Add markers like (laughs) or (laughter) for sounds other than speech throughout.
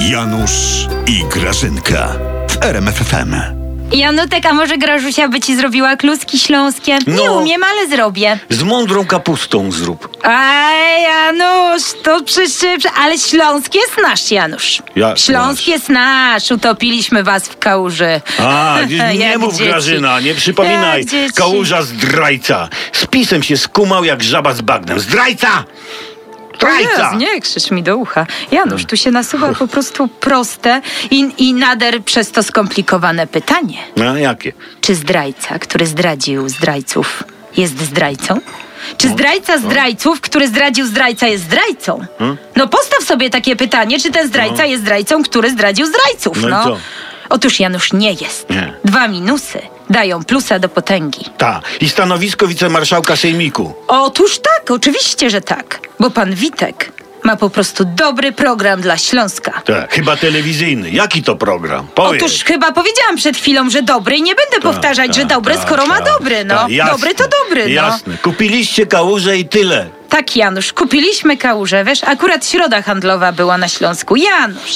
Janusz i Grażynka w RMFFM. Janutek, a może Grażusia by ci zrobiła kluski śląskie? Nie No. umiem, ale zrobię. Z mądrą kapustą zrób. Ej, Janusz, to przecież... Ale śląskie znasz, Janusz. Ja- śląskie znasz. Utopiliśmy was w kałuży. (laughs) A, nie, nie Jak mów dzieci. Grażyna, nie przypominaj. Jak dzieci. Kałuża zdrajca. Z pisem się skumał jak żaba z bagnem. Zdrajca! Zdrajca! Jezu, nie krzycz mi do ucha. Janusz, tu się nasuwa po prostu proste i, i nader przez to skomplikowane pytanie. A jakie? Czy zdrajca, który zdradził zdrajców, jest zdrajcą? Czy No, zdrajca zdrajców, który zdradził zdrajca, jest zdrajcą? Hmm? No postaw sobie takie pytanie, czy ten zdrajca jest zdrajcą, który zdradził zdrajców? No i co? Otóż Janusz nie jest. Nie. Dwa minusy dają plusa do potęgi. Ta. I stanowisko wicemarszałka Sejmiku. Otóż tak, oczywiście, że tak. Bo pan Witek ma po prostu dobry program dla Śląska. Tak. Chyba telewizyjny. Jaki to program? Powiedz. Otóż chyba powiedziałam przed chwilą, że dobry i nie będę powtarzać, że Tak, dobry, tak, skoro ma tak, dobry. No, tak, jasne, dobry to dobry. No. Jasne. Kupiliście kałużę i tyle. Tak, Janusz, kupiliśmy kałużę. Wiesz, akurat środa handlowa była na Śląsku. Janusz,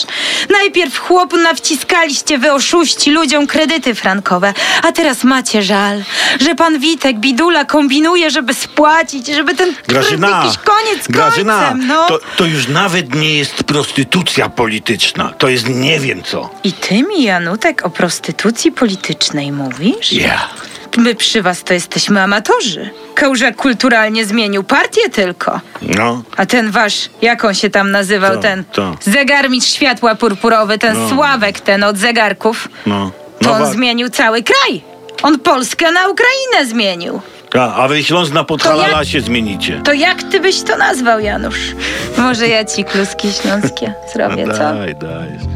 najpierw chłopu nawciskaliście wy oszuści ludziom kredyty frankowe, a teraz macie żal, że pan Witek Bidula kombinuje, żeby spłacić, żeby ten Grażyna, jakiś koniec z Grażyna, końcem, no. to, to już nawet nie jest prostytucja polityczna. To jest nie wiem co. I ty mi, Janutek, o prostytucji politycznej mówisz? Ja. My przy was to jesteśmy amatorzy. Kałuża kulturalnie zmienił partię tylko. No. A ten wasz, jak on się tam nazywał, To, ten to. zegarmistrz światła purpurowy, ten No. Sławek ten od zegarków, No. to No on wa- zmienił cały kraj. On Polskę na Ukrainę zmienił. A, a wy Śląsk na To Podhalala ja- się zmienicie. To jak ty (laughs) No tak. byś to nazwał, Janusz? Może ja ci kluski śląskie zrobię, co? daj, daj.